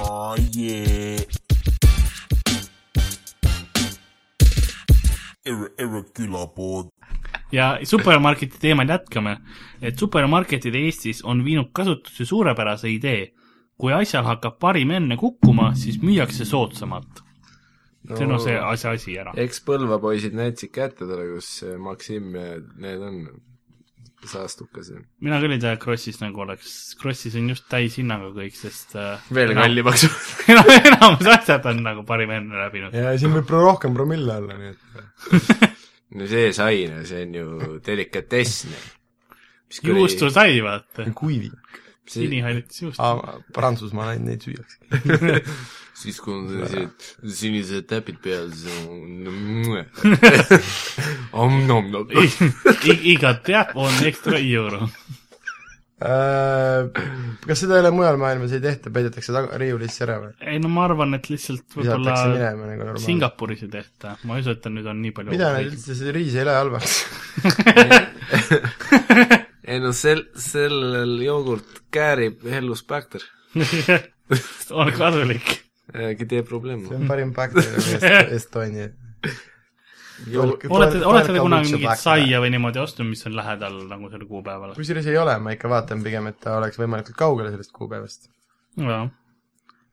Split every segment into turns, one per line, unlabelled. Oh yeah. Erre, erre külapod.
ja supermarketi teemal jätkame , et supermarketid Eestis on viinud kasutusse suurepärase idee . kui asjal hakkab parim enne kukkuma , siis müüakse soodsamalt . see on see asja asi ära .
eks Põlva poisid näitasid kätte talle , kus see Maksim ja need on , saastukas ja
mina küll ei tea , et Krossis nagu oleks , Krossis on just täishinnaga kõik , sest äh,
veel
enam-
kallimaks .
enam, enamus asjad on nagu parim enne läbinud .
ja siin võib pro- rohkem promille olla , nii et
no see sai , no see on ju delikatessen .
juustu sai , vaata .
kuivi .
sinihallitas juustu .
Prantsusmaa neid , neid süüakse .
siis , kui on sellised sinised täpid peal , siis on om-nom-nom .
iga teab , on ekstra euro .
Äh, Kas seda ei ole mujal maailmas ei tehta , peidetakse taga , riiulisse ära või ?
ei no ma arvan , et lihtsalt võib-olla
visatakse minema nagu normaalselt .
Singapuris ei tehta , ma ei usu , et ta nüüd on nii palju
mida nad üldse , see riis ei lähe halvaks .
ei no sel- , sellel joogurt käärib hellusbakter .
on kasulik .
äkki teeb probleeme
see . on parim bakter nagu Estonia .
olete , olete te kunagi mingit saia või niimoodi ostnud , mis on lähedal nagu sellel kuupäeval ?
kusjuures ei ole , ma ikka vaatan pigem , et ta oleks võimalikult kaugel sellest kuupäevast .
jaa ,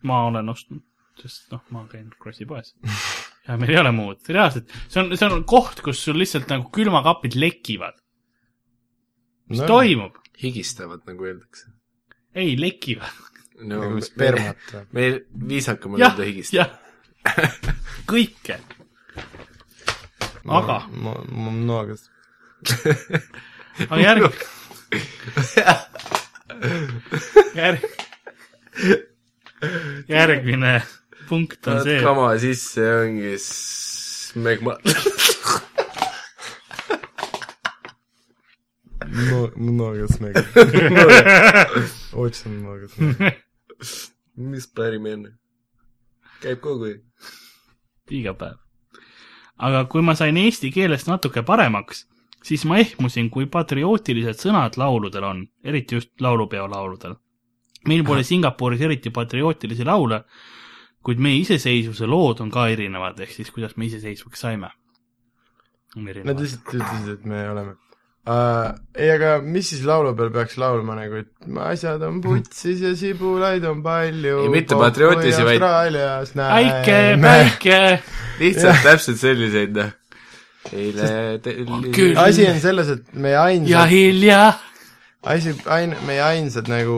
ma olen ostnud , sest noh , ma käin Krossi poes ja meil ei ole muud , reaalselt , see on , see on koht , kus sul lihtsalt nagu külmakapid lekivad . mis no. ? toimub ?
higistavad , nagu öeldakse .
ei , lekivad .
no
nagu spermat või ?
meil viisakam on
jah
öelda , higistada .
jah , kõike . Aga-
ma , ma , mnogas .
aga järg- , järg- , järgmine punkt on
paned
see ,
kama sisse ja ongi smegma .
Mnogas mega . Otsin mnogas mega .
mis parim enne ? käib kogu aeg .
iga päev . aga kui ma sain eesti keelest natuke paremaks , siis ma ehmusin , kui patriootilised sõnad lauludel on , eriti just laulupeo lauludel . meil pole Singapuris eriti patriootilisi laule , kuid meie iseseisvuse lood on ka erinevad , ehk siis kuidas me iseseisvaks saime .
Nad lihtsalt ütlesid , et me oleme uh, . ei , aga mis siis laulu peal peaks laulma nagu , et ma- asjad on putsis ja sibulaid on palju .
Ei, mitte patriootilisi, vaid-
Austraalias
väike ,
näeme .
väike ,
lihtsalt täpselt selliseid , noh . eile
küll.
asi on selles , et meie
ja
ainsad ,
hilja
asi , ain- , meie ainsad nagu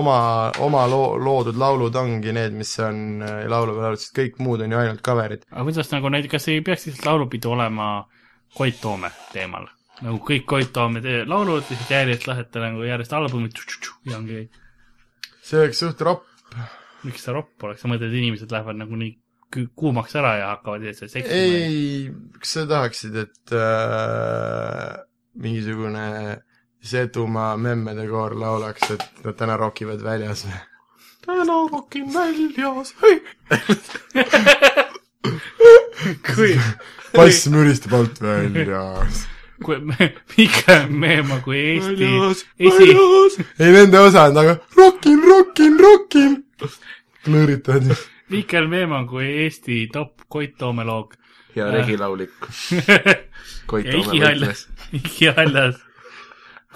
oma , oma loo , loodud laulud ongi need , mis on äh, laulu peal laulud , sest kõik muud on ju ainult cover'id .
aga kuidas nagu neid , kas ei peaks lihtsalt laulupidu olema Koit Toome teemal ? nagu kõik Koit Toome tee- laulud , lihtsalt järjest lähete nagu järjest albumit tšu-tšu-tšu ja ongi ,
see oleks suht ropp .
miks see ropp oleks , sa mõtled , inimesed lähevad nagu nii kü- kuumaks ära ja hakkavad lihtsalt seksima .
ei , kas sa tahaksid , et äh, mingisugune Setumaa memmede koor laulaks , et nad täna rokivad väljas või ? täna rokin väljas , hei !
kui ,
pass müristab alt välja .
kui me- pigem Meemaa kui Eesti esi ,
ei , nende osa on taga , rokin , rokin , rokin . klõõritad .
Mihkel Meemaa kui Eesti top Koit Toome loog .
ja regilaulik Koit
ja
Toome
Iki Haljas
võtles .,
Iki Haljas ,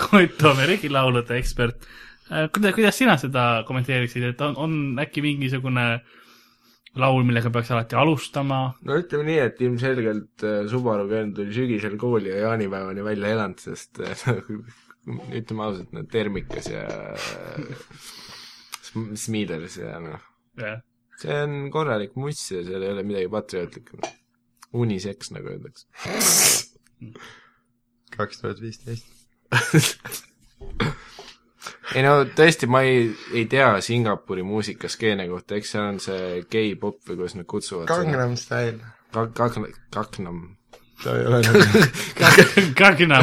Koit Toome regilaulude ekspert . kuidas , kuidas sina seda kommenteeriksid , et on, on äkki mingisugune laul , millega peaks alati alustama ?
no ütleme nii , et ilmselgelt äh, Subaru Kern tuli sügisel kooli ja jaanipäevani välja elanud , sest äh, ütleme ausalt , no termikas ja äh, sm- Smiiders ja noh , see on korralik muss ja seal ei ole midagi patriootlikku . uniseks , nagu öeldakse .
kaks tuhat viisteist .
ei no tõesti , ma ei , ei tea Singapuri muusikaskeene kohta , eks seal on see gei-pop või kuidas nad kutsuvad seda .
Gangnam Style .
Kak- , kak- , kaknam ,
ta ei ole nagu ,
Kagna ,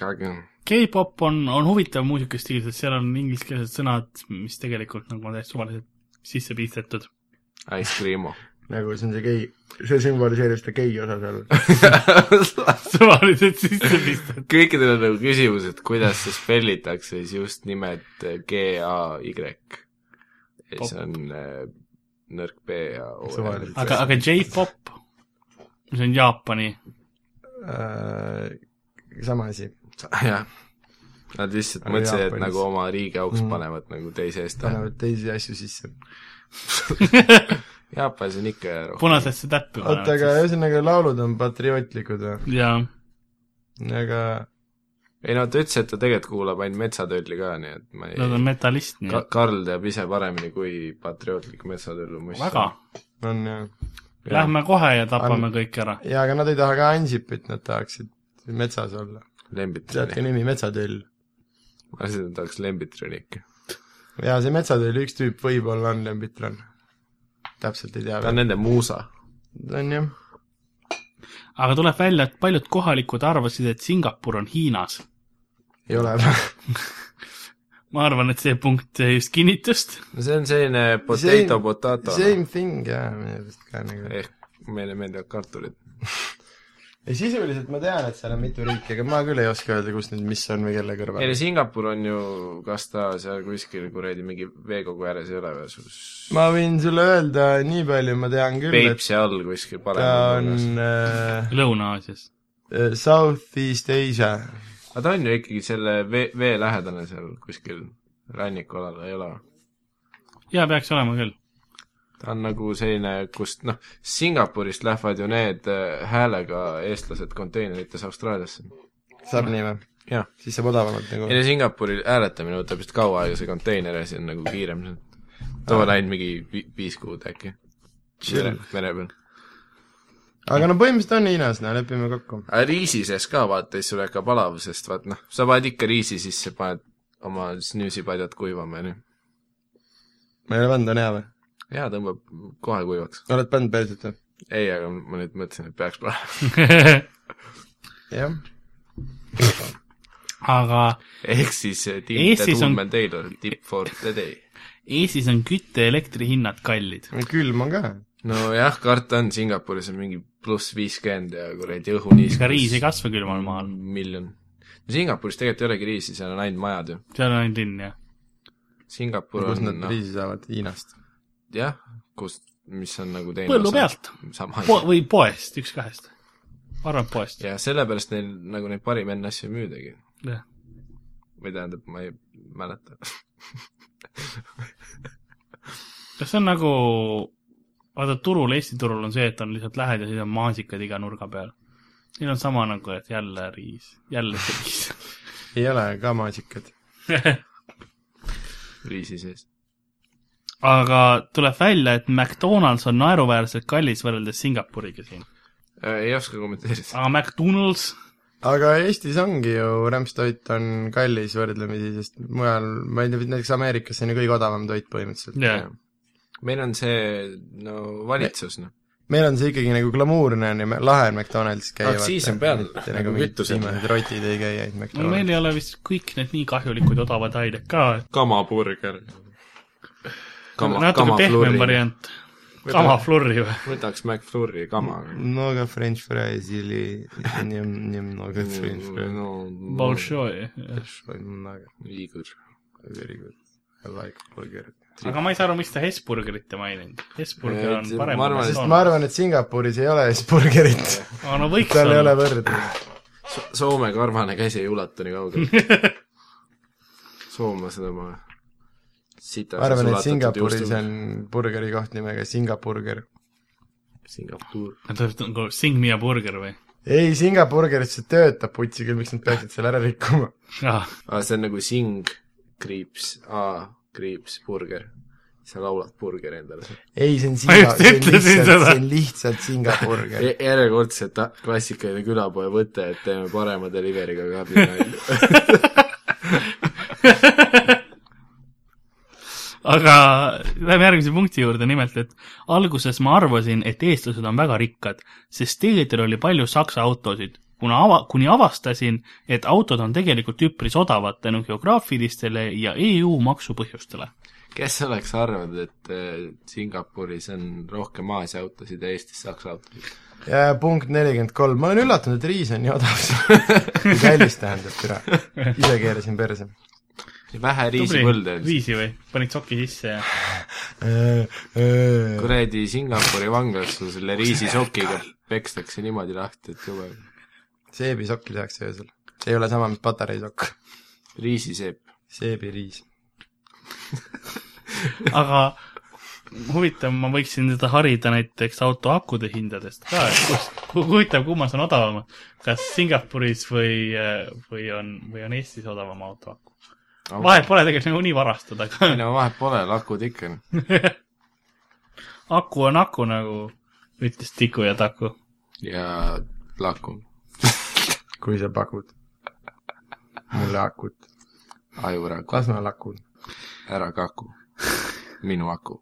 kaknam
K-pop on , on huvitav muusikastiil , sest seal on ingliskeelsed sõnad , mis tegelikult nagu on täiesti suvaliselt sisse pistetud .
Ice Creamo .
nagu see on see gei , see sümboliseerib seda gei osa seal .
suvaliselt sisse pistetud .
kõikidel on nagu küsimus , et kuidas see spellitakse , siis just nimelt G A äh, Y . ja siis on äh, nõrk B ja
Suvaline.
OM .
aga , aga J-pop , mis on Jaapani ,
Äh, sama asi .
jah . Nad lihtsalt
Aga
mõtlesid , et
Jaapanis-
nagu oma riigi auks
Mm.
panevad nagu teise eest ära .
panevad teisi asju sisse .
Jaapanis on ikka rohkem .
punasesse täppi
oota , aga
panevad siis .
ühesõnaga laulud on patriootlikud või ?
jaa ,
aga
ei no ta ütles , et ta tegelikult kuulab ainult Metsatöödli ka , nii et ma
nad on
ei
metallist , nii
Ka-
et ,
Karl teab ise paremini , kui patriootlik Metsatöödlu must
väga .
on jah .
Lähme kohe ja tapame
An-
kõik ära .
jaa , aga nad ei taha ka Ansipit , nad tahaksid metsas olla . teate
Lembitroni .
nimi Metsatöll .
ma lihtsalt tahaks Lembitroni ikka .
jaa , see Metsatöll , üks tüüp võib-olla on Lembitron . täpselt ei tea
ta on
veel .
nende muusa .
on jah .
aga tuleb välja , et paljud kohalikud arvasid , et Singapur on Hiinas .
ei ole või ?
ma arvan , et see punkt sai just kinnitust .
no see on selline potato
Same-
potato .
Same thing jaa , minu arust ka nagu .
ehk meile meeldivad kartulid .
ei sisuliselt ma tean , et seal on mitu riiki , aga ma küll ei oska öelda , kus nüüd mis on või kelle
ei no
kõrval .
Singapur on ju , kas ta seal kuskil kuradi mingi veekogu ääres ei ole või sus
ma võin sulle öelda nii palju , ma tean küll , et
Peipsi all kuskil
ta
paremal
on
nurgas .
äh,
Lõuna-Aasias .
Southeast Asia .
aga ta on ju ikkagi selle vee , vee lähedane seal kuskil rannikualal , ei ole või ?
jaa , peaks olema küll .
ta on nagu selline , kust noh , Singapurist lähevad ju need äh, häälega eestlased konteinerites Austraaliasse .
saab nii või ?
jah .
siis saab odavamalt nagu
ei . no Singapuri hääletamine võtab vist kaua aega , see konteiner ja see on nagu kiirem . toon ainult mingi vi- viis kuud äkki . mere , mere peal .
aga no põhimõtteliselt on Hiinas , no lepime kokku .
aga riisi sees ka vaata , siis sul hakkab alav , sest vaat noh , sa paned ikka riisi sisse , paned oma snüüsipadjad kuivama ja nii .
ma ei ole pannud , on hea või ?
jaa , tõmbab kohe kuivaks .
oled pannud päriselt või ?
ei , aga ma nüüd mõtlesin , et peaks panema .
jah .
aga
ehk siis eh, Tim the
Eestis on-
Toolman Taylor , tip for the day .
Eestis on kütte ja elektri hinnad kallid .
külm on ka .
nojah , karta on , Singapuris on mingi pluss viiskümmend ja kuradi õhuniiskus .
ega riis ei kasva külmal maal ,
miljon . no Singapuris tegelikult ei olegi riisi , seal on ainult majad ju .
seal on ainult linn , jah .
Singapur
kust
on
nad
noh ,
riisi saavad ? Hiinast .
jah , kus , mis on nagu teine
põllu pealt
sama
po
asi .
või poest , üks kahest . ma arvan , et poest ,
ja sellepärast neil nagu neid parim enne asju ei müüdagi .
jah .
või tähendab , ma ei mäleta .
kas see on nagu , vaata turul , Eesti turul on see , et on lihtsalt lähed ja siis on maasikad iga nurga peal . Neil on sama nagu , et jälle riis , jälle see riis .
ei ole ka maasikad .
riisi sees .
aga tuleb välja , et McDonalds on naeruväärselt kallis võrreldes Singapuriga siin .
Äh, ei oska kommenteerida .
aga McDonalds ,
aga Eestis ongi ju rämpstoit on kallis võrdlemisi , sest mujal , ma ei tea , näiteks Ameerikas on ju kõige odavam toit põhimõtteliselt .
jah ,
meil on see , no valitsus noh .
meil on see ikkagi nagu glamuurne on ju , lahe on McDonald's käia .
Aktsiis on peal,
mitte
nagu
nagu mingid
kütusel.
viimased rotid ei käi
no
ainult
meil
McDonald's .
ei ole vist kõik need nii kahjulikud odavad ained ka ,
kamaburger .
natuke pehmem . variant . kama flurri või ?
võtaks McFlurry kama .
Много french fries или не, немного french fries .
Mm, no ,
Bolshoi .
Большой, много.
Igor .
Very good. I like burger .
aga ma ei saa aru , miks ta Hesburgerit ei maininud . Hesburger on
Eh,
parem .
ma arvan, et-
ma arvan , et Singapuris ei ole siis burgerit .
aga no võiks
seal ei ole
olla .
võrdlust .
Soome karvane käsi ei ulatu nii kaugele . soomlased oma sita
ma arvan , et Singapuris on burgeri koht nimega Singaburger .
Singapur .
Nad olid nagu Sing Me A Burger või ?
ei , Singaburgeris see töötab , putsi küll , miks nad peaksid selle ära rikkuma .
jah ,
aa , see on nagu sing , kriips , A , kriips , burger . sa laulad burgeri endale .
ei , see on
Ma
singa ,
just
see on
ütlesin
lihtsalt ,
seda.
see on lihtsalt Singaburger .
järjekordselt E-, ta- klassikaline külapoe võte , et teeme parema delivery'ga ka abi .
aga lähme järgmise punkti juurde , nimelt et alguses ma arvasin , et eestlased on väga rikkad , sest teedel oli palju saksa autosid , kuna ava- , kuni avastasin , et autod on tegelikult üpris odavad tänu geograafilistele ja EU maksupõhjustele .
kes oleks arvanud , et eh, Singapuris on rohkem Aasia autosid ja Eestis Saksa autosid ?
ja punkt nelikümmend kolm , ma olen üllatunud , et riis on nii odav siin . kallis tähendab , türa . ise keerasin perse .
vähe riisipõlde .
viisi või ? panid soki sisse ja
Äh, Kuradi
kuradi Singapuri vanglas sul selle riisisokiga pekstakse niimoodi lahti , et jube ,
seebisokki tehakse öösel . see ei ole sama , mis patareisokk .
riisiseep .
seebiriis .
aga huvitav , ma võiksin seda harida näiteks auto akude hindadest ka , et kus , huvitav , kummas on odavam , kas Singapuris või , või on , või on Eestis odavam auto aku . vahet pole tegelikult nagunii varastada ,
ei
aga
no vahet pole , lakud ikka on .
aku on aku , nagu ütles Tiku ja Taku .
ja laku ,
kui sa pakud mulle akut .
ajuraku ,
las ma lakun .
ära kaku , minu aku .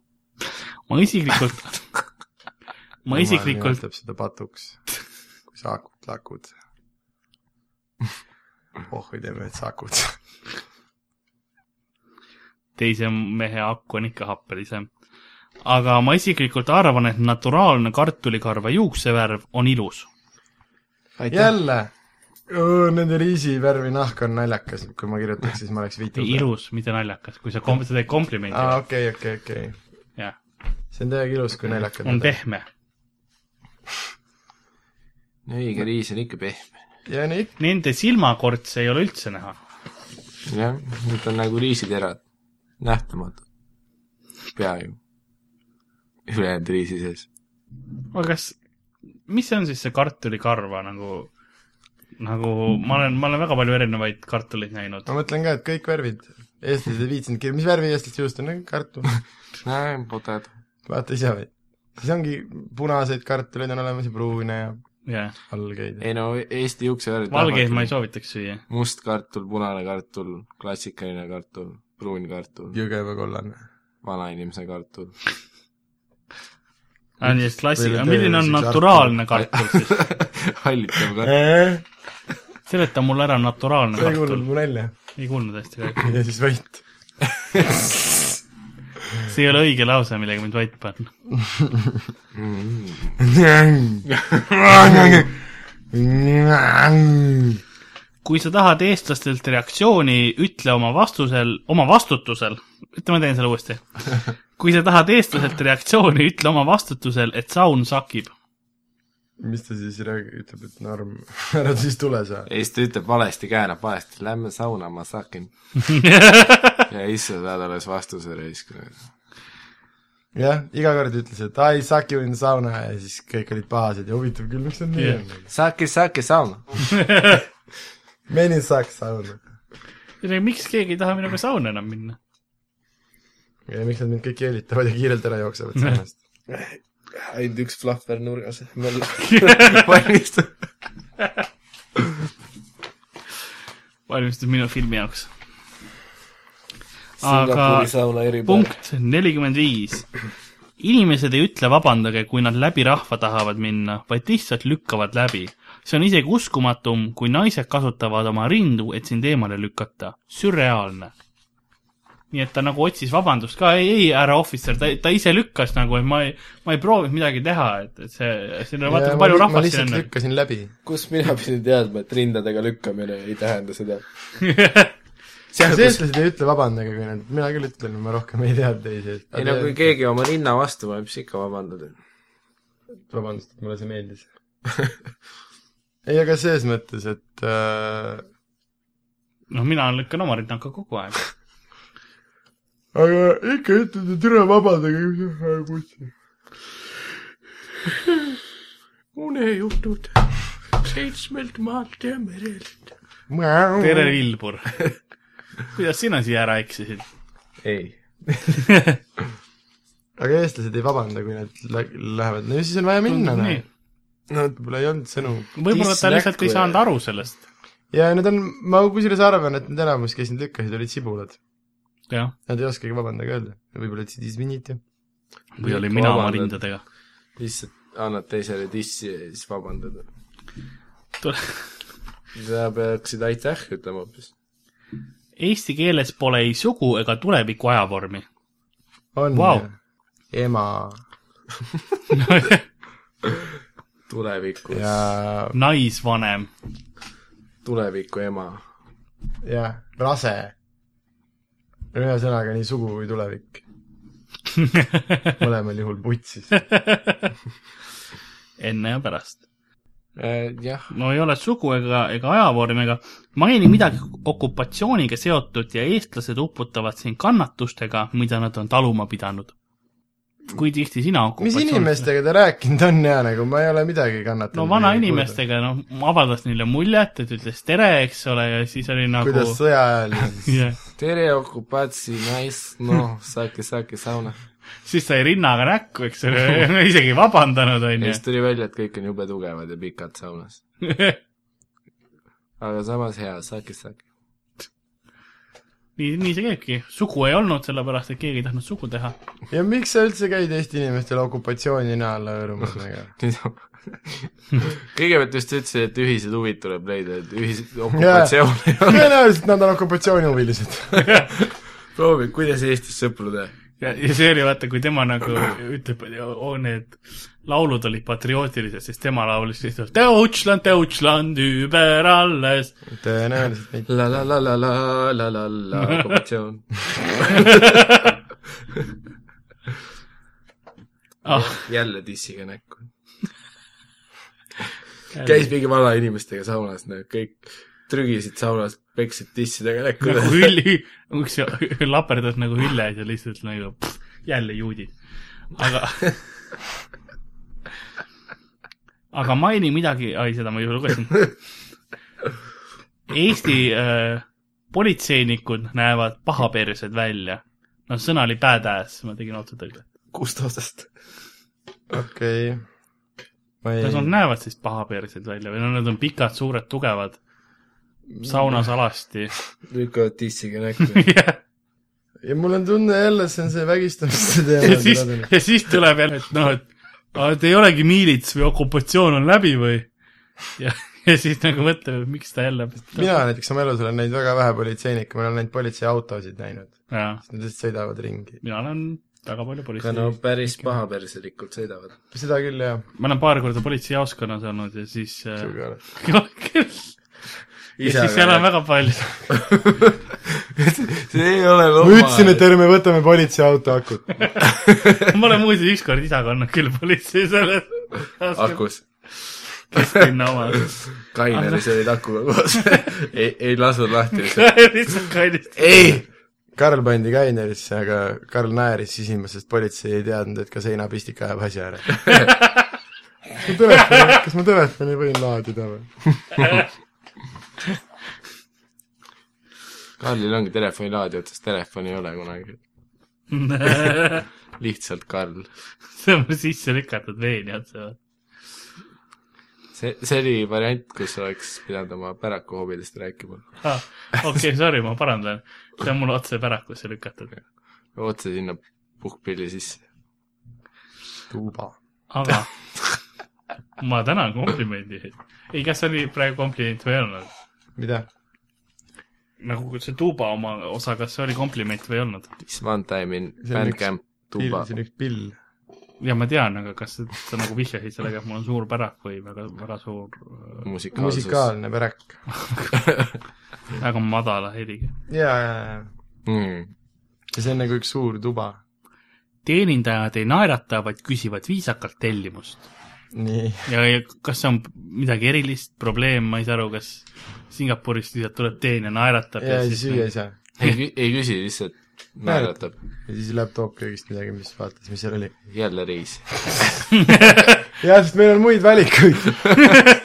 ma isiklikult , ma isiklikult ,
nimetab seda patuks , kui sa akut lakud . oh , ei tea , et sa akud .
teise mehe aku on ikka happelisem . aga ma isiklikult arvan , et naturaalne kartulikarva juuksevärv on ilus .
aitäh ,
jälle Õõ, Nende riisivärvi nahk on naljakas , kui ma kirjutaks , siis ma oleks viitud .
ilus , mitte naljakas , kui sa kom- , sa teed komplimendi
aa ,
ah, ,
okei , okei , okei .
jah ,
see on täiega ilus , kui naljakad
on . pehme .
õige riis on ikka pehme .
ja nii ,
Nende silmakortse ei ole üldse näha .
jah , need on nagu riisiterad , nähtamatud . peaaegu . ülejäänud riisi sees .
aga kas , mis see on siis see kartulikarva nagu , nagu ma olen , ma olen väga palju erinevaid kartuleid näinud .
ma mõtlen ka , et kõik värvid , eestlased ei viitsinudki , mis värvi eestlaste juust on , kartul ,
näen poted .
vaata ise või . siis ongi punaseid kartuleid on olemas ja pruune ja
jah ,
valgeid .
ei no Eesti juuksevärvid .
valgeid ma ei . soovitaks süüa .
must kartul , punane kartul , klassikaline kartul , pruun kartul ,
Jõgeva kollane .
vanainimese kartul .
aa , nii , et klassi ,
Või
aga
teine
milline on
siis
naturaalne kartul siis ?
hallitav kartul .
ei
seleta mulle ära naturaalne
kuulnud
kartul .
mu nalja .
ei kuulnud hästi ka .
ja siis võit .
see ei ole õige lause , millega mind vait panna . kui sa tahad eestlastelt reaktsiooni , ütle oma vastusel , oma vastutusel , ütle , ma teen selle uuesti . kui sa tahad eestlaselt reaktsiooni , ütle oma vastutusel , et saun sakib .
mis ta siis räägib , ütleb , et norm , ära siis tule sa .
ja siis ta ütleb valesti , käänab valesti , lähme sauna , ma sakin . ja issand , saad alles vastuse raiskama .
jah , iga kord ütles , et I suck you in sauna ja siis kõik olid pahased ja huvitav küll , miks nad nii
Jah.
on .
Saki , saki sauna .
Many suck sauna .
miks keegi ei taha minuga sauna enam minna ?
ja miks nad mind kõik jälitavad ja kiirelt ära jooksevad saunast . ainult üks flahver nurgas .
valmistub .
valmistud minu filmi jaoks . aga punkt nelikümmend viis . inimesed ei ütle vabandage , kui nad läbi rahva tahavad minna , vaid lihtsalt lükkavad läbi . see on isegi uskumatum , kui naised kasutavad oma rindu , et sind eemale lükata . sürreaalne . nii et ta nagu otsis vabandust ka , ei , ei , härra ohvitser , ta , ta ise lükkas nagu , et ma ei , ma ei proovinud midagi teha , et , et see , siin on vaata kui palju
ma
rahvast siin
lihtsalt lükkasin läbi .
kus mina pidin teadma , et rindadega lükkamine ei tähenda seda ?
on .
kas eestlased ei ütle vabandage , kui nad , mina küll ütlen , ma rohkem ei tea teisi eest .
ei no kui nagu keegi oma ninna vastu paneb , siis ikka vabandad .
vabandust , mulle see meeldis . ei , aga selles mõttes , et äh,
noh , mina lükkan oma rinnaka kogu aeg .
aga ikka ütled , et üle vabandage .
unejutud seitsmelt maalt ja merelt .
tere , Vilbur . kuidas sina siia ära eksisid ?
ei .
aga eestlased ei vabanda , kui nad lä- lähevad , no siis on vaja minna , noh . no võib-olla ei olnud sõnu .
võib-olla ta
Diss
lihtsalt ei
näkku
saanud aru sellest .
ja need on , ma kusjuures arvan , et need enamus , kes neid lükkasid , olid sibulad .
jah ,
Nad ei oskagi vabandage öelda . võib-olla ütlesid izviniti .
või olin
Ikka
mina oma
vabandad.
rindadega .
lihtsalt annad teisele dissi ja siis vabandad . sa peaksid aitäh ütlema hoopis .
Eesti keeles pole ei sugu ega tuleviku ajavormi .
on
Vau.
wow. ema
tulevikus
ja ,
naisvanem ,
tuleviku ema .
jah , rase . ühesõnaga nii sugu kui tulevik . mõlemal juhul vutsis .
enne ja pärast .
Äh, jah ,
no ei ole sugu ega , ega ajavormi ega maini midagi okupatsiooniga seotud ja eestlased uputavad siin kannatustega , mida nad on taluma pidanud . kui tihti sina
mis
okupatsioonist
inimestega ta rääkinud on ja nagu ma ei ole midagi kannatanud .
no vanainimestega , noh , avaldas neile muljet , et ütles tere , eks ole , ja siis oli nagu
kuidas sõja ajal siis
jah ,
tere okupatsi , nice , noh , saki , saki , sauna .
siis sai rinnaga näkku , eks ole , isegi vabandanud ,
ja
onju
siis . tuli välja , et kõik on jube tugevad ja pikad saunas . aga samas hea , saki , saki .
nii , nii see käibki . sugu ei olnud , sellepärast et keegi ei tahtnud sugu teha .
ja miks sa üldse käid Eesti inimestele okupatsiooni nina alla hõõrumas nagu ?
kõigepealt just ütlesin , et ühised huvid tuleb leida , et ühised okupatsioon ei ole .
tõenäoliselt nad on okupatsioonihuvilised .
proovi , kuidas Eestis sõpru teha .
ja , ja see oli vaata , kui tema nagu ütleb , need laulud olid patriootilised , siis tema laulis lihtsalt Deutschland , Deutschland über alles .
tõenäoliselt mitte .
la la la la la la la la okupatsioon .
Ah,
jälle dissiga näkku . käis mingi vanainimestega saunas , need kõik trügisid saunas , peksid dissidega näkku
nagu . hülli , üks laperdas nagu hülles ja lihtsalt nagu pff, jälle juudid . aga , aga maini midagi , ai , seda ma ju lugesin . Eesti äh, politseinikud näevad pahapersed välja . no sõna oli badass , ma tegin otsetõlge .
kust otsast ?
okei okay. . ma
kas nad
ei ,
näevad siis pahapersed välja või no nad on pikad , suured , tugevad , saunas alasti .
lükkavad dissiga näkku .
ja mul on tunne jälle , see on see vägistamise
ja siis
teema ,.
ja siis tuleb jälle , et noh , et aga te ei olegi miilits või okupatsioon on läbi või ? ja , ja siis nagu mõtleme , et miks ta jälle .
mina näiteks oma elus olen näinud väga vähe politseinikke , ma olen ainult politseiautosid näinud .
jaa ,
Nad lihtsalt sõidavad ringi .
mina olen väga palju
aga no
politsei ,
päris pahaperselikult sõidavad .
seda küll , jah .
ma olen paar korda politseijaoskonnas olnud ja siis äh, ja siis seal on
ma
väga palju ,
see ei ole
ma ütlesin , et ärme võtame politseiauto akut .
ma olen muuseas ükskord isaga olnud küll politsei selles
akus .
kesklinna omas ,
kaineris olid akuga koos . ei , ei lasu lahti lihtsalt .
lihtsalt kallist .
ei ,
Karl pandi kainerisse , aga Karl naeris sisimas , sest politsei ei teadnud , et ka seinapistik ajab asja ära . kas ma telefoni võin laadida või ?
Karlil ongi telefonilaadija otsas , telefoni ei ole kunagi . lihtsalt Karl .
see on sisse lükatud veeni otsa .
see , see oli variant , kus oleks pidanud oma päraku hobidest rääkima .
Ah, okei , sorry , ma parandan , see on mul otse pärakusse lükatud ,
otse sinna puhkpilli sisse .
tuuba .
aga ma tänan komplimendi eest . ei , kas see oli praegu kompliment või ei olnud ?
mida ?
nagu see tuuba oma osa , kas see oli kompliment või ei olnud ?
This one time in
See on
bandcamp
pill ,
tuba
see . on üks pill .
ja ma tean , aga kas sa nagu vihjasid sellega , et mul on suur pärak või väga , väga suur ,
musikaalsus .
musikaalne pärak .
väga madala heliga ?
jaa , jaa , jaa .
Mm.
ja see on nagu üks suur tuba .
teenindajad ei naerata , vaid küsivad viisakalt tellimust .
nii .
ja , ja kas see on midagi erilist , probleem , ma ei saa aru , kas Singapurist lihtsalt tuleb teenija , naeratab
ja siis süüa ei saa .
ei , ei küsi , lihtsalt naeratab .
ja siis läheb toob köögist midagi , mis vaatas , mis seal oli .
jälle reis .
nagu-
jah , sest meil on muid valikuid .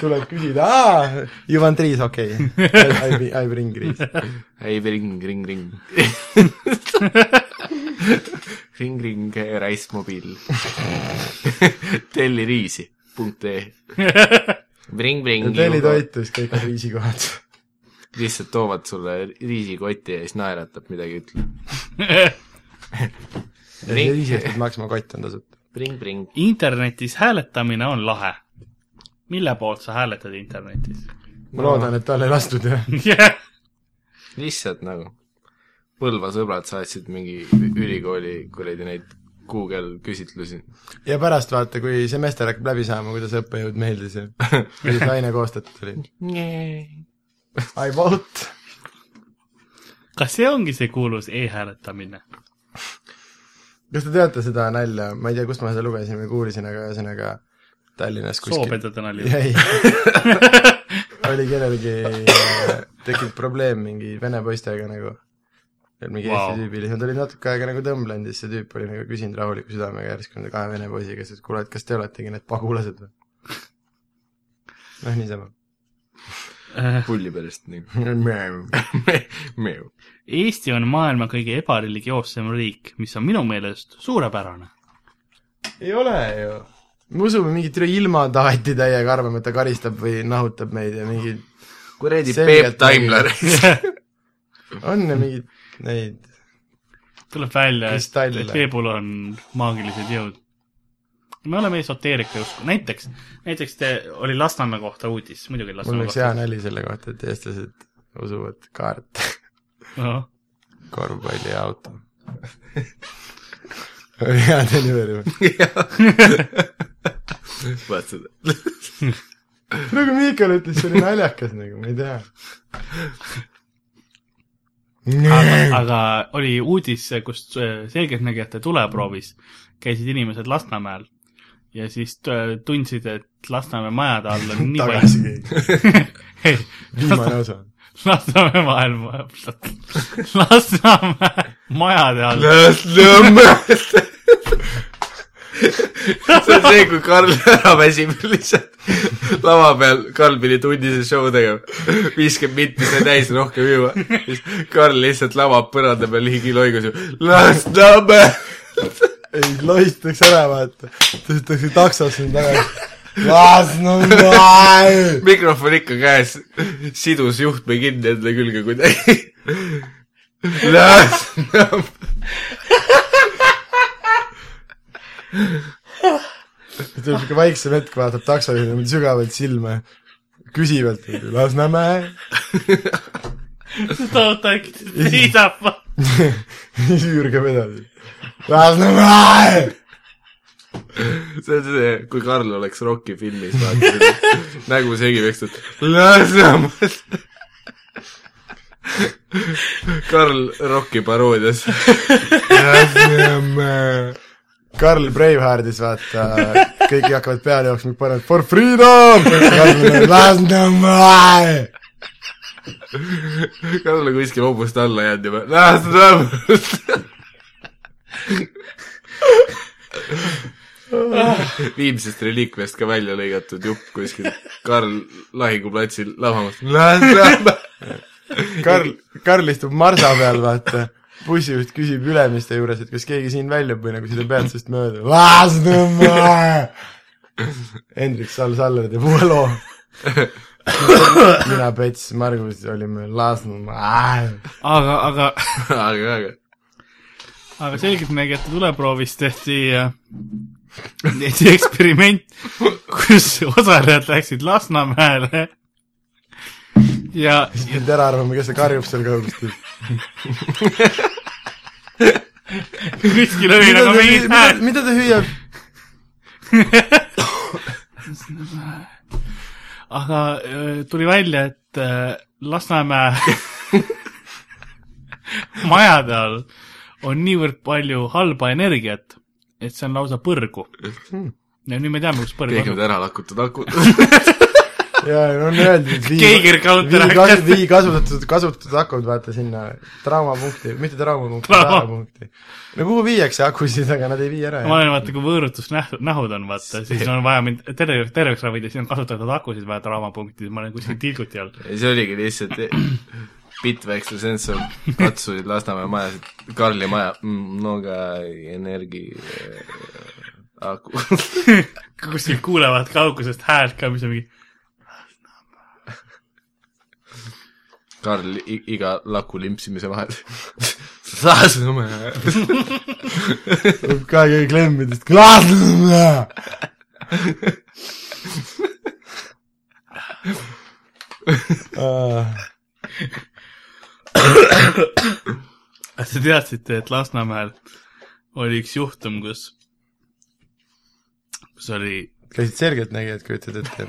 tuleb küsida , aa , you want riis , okei okay. . I bring riis .
ei , ring , ring , ring . ring , ring , reismobiil . telli riisi . punkt ee . Ring , ring .
hotellitoitu , siis kõik on riisikohad .
lihtsalt toovad sulle riisikoti ja siis naeratab midagi , ütleb .
ja siis riisi eest peab maksma , kott on tasuta .
Ring , ring .
internetis hääletamine on lahe . mille poolt sa hääletad internetis
ma loodan , et tal ei lastud jah .
yeah. ?
lihtsalt nagu Põlva sõbrad saatsid mingi ülikooli kuradi neid Google küsitlusi .
ja pärast vaata , kui semester hakkab läbi saama , kuidas õppejõud meeldis ja kuidas aine koostatud oli . I vote .
kas see ongi see kuulus e-hääletamine ?
kas te teate seda nalja , ma ei tea , kust ma seda lugesin või kuulsin , aga ühesõnaga Tallinnas kuskil
soopedade nali .
ei , oli kellelgi , tekkinud probleem mingi vene poistega nagu . mingi wow.
Vau.
Eesti tüübi , siis nad olid natuke aega nagu tõmblenud ja siis see tüüp oli nagu küsinud rahuliku südamega järsku nende kahe vene poisiga , siis et kuule , et kas te oletegi need pagulased või ? noh , niisama .
pulli pärast nii . Meu.
Eesti on maailma kõige ebareligioossem riik , mis on minu meelest suurepärane .
ei ole ju . me usume mingit ilmataati täiega , arvame , et ta karistab või nahutab meid ja mingi ,
kuradi
Selgelt
Peep Taimler .
on ju mingeid neid
tuleb välja , et
Kristallile.
et Peebul on maagilised jõud . me oleme esoteerika usku , näiteks , näiteks te , oli Lasnamäe kohta uudis , muidugi
mul
Lasnamäe
oleks hea nali selle kohta , et eestlased usuvad kaarte ,
kohta .
korvpalli ja auto . hea delivery .
vaat seda .
nagu Miikal ütles , see oli naljakas nagu , ma ei tea .
aga , aga oli uudis , kus äh, selgeltnägijate tuleproovis käisid inimesed Lasnamäel ja siis t- tundsid , et Lasnamäe majade all on nii
tagasi
palju ,
keegi ,
ei ,
viimane osa .
Lasnamäe maailma , Lasnamäe majade all ,
see on see , kui Karl ära väsib lihtsalt lava peal , Karl pidi tunnise show tegema , viiskümmend minti sai täis , rohkem ei jõua . siis Karl lihtsalt lavab põranda peal ligi loigus ja Lasnamäe .
ei , lohistaks ära , vaata . tõstetakse taksos siin tagasi . Lasnamäe .
mikrofon ikka käes , sidus juhtme kinni enda külge kuidagi . Lasnamäe .
tuleb siuke väiksem hetk , vaatab taksojuhile niimoodi sügavalt silma , küsivalt , Lasnamäe .
toota äkki seisab .
siis üürgab edasi . Lasnamäe .
see on see , kui Karl oleks Rocki filmis , vaata , nägu segi pekstud , Lasnamäe . Karl Rocki paroodias .
Lasnamäe . Karl Braveheartis , vaata , kõik hakkavad peale jooksma , panevad for freedom , Lasnamäe .
Karl on kuskil hobust alla jäänud juba , Lasnamäe . viimsest reliikviast ka välja lõigatud jupp kuskil Karl lahinguplatsil lavamas , Lasnamäe .
Karl , Karl istub marsa peal , vaata . bussijuht küsib Ülemiste juures , et kas keegi siin väljub või nagu sõidab peatusest mööda . Lasnamäe . Hendrik Sall-Saller teeb uue loo . mina , Pets , Margus olime Lasnamäe .
aga , aga ,
aga , aga
aga selgeltnägijate tuleproovis tehti , tehti eksperiment , kus osalejad läksid Lasnamäele ja
siis pidid ära arvama , kes see karjub seal kaugustil .
kuskil oli
mida
nagu
ta
mingi
mida,
hääl .
mida ta hüüab ?
aga öö, tuli välja , et öö, Lasnamäe majade all on niivõrd palju halba energiat , et see on lausa põrgu . ja nüüd me teame , kus põrg
keegi
on
on . ära lakutud akud .
ja no on öeldud , et vii ,
Keiger Counter
vii, kas,
hakkas .
vii kasutatud , kasutatud akud , vaata sinna traumapunkti , mitte traumapunkti ,
Trauma-
traumapunkti . no kuhu viiakse akusid , aga nad ei vii ära
ma . olen vaata , kui võõrutusnähud on , vaata , siis on vaja mind terve , terveks ravida , siis on kasutatud akusid vaja traumapunktides , ma olen kuskil tilguti all .
ja see oligi lihtsalt Bitväksla sensor katsusid Lasnamäe majas , Karli maja mm, , no aga energi- äh, aku .
kuskil kuulevad kaugusest häält ka , mis on mingi
Karl i- iga laku limpsimise vahel . Lasnamäe .
tuleb ka keegi klemmidest , Lasnamäe . Ah,
kas Ah, te teadsite , et Lasnamäel oli üks juhtum , kus , kus oli ,
käisid selgeltnägijad , kujutad ette ?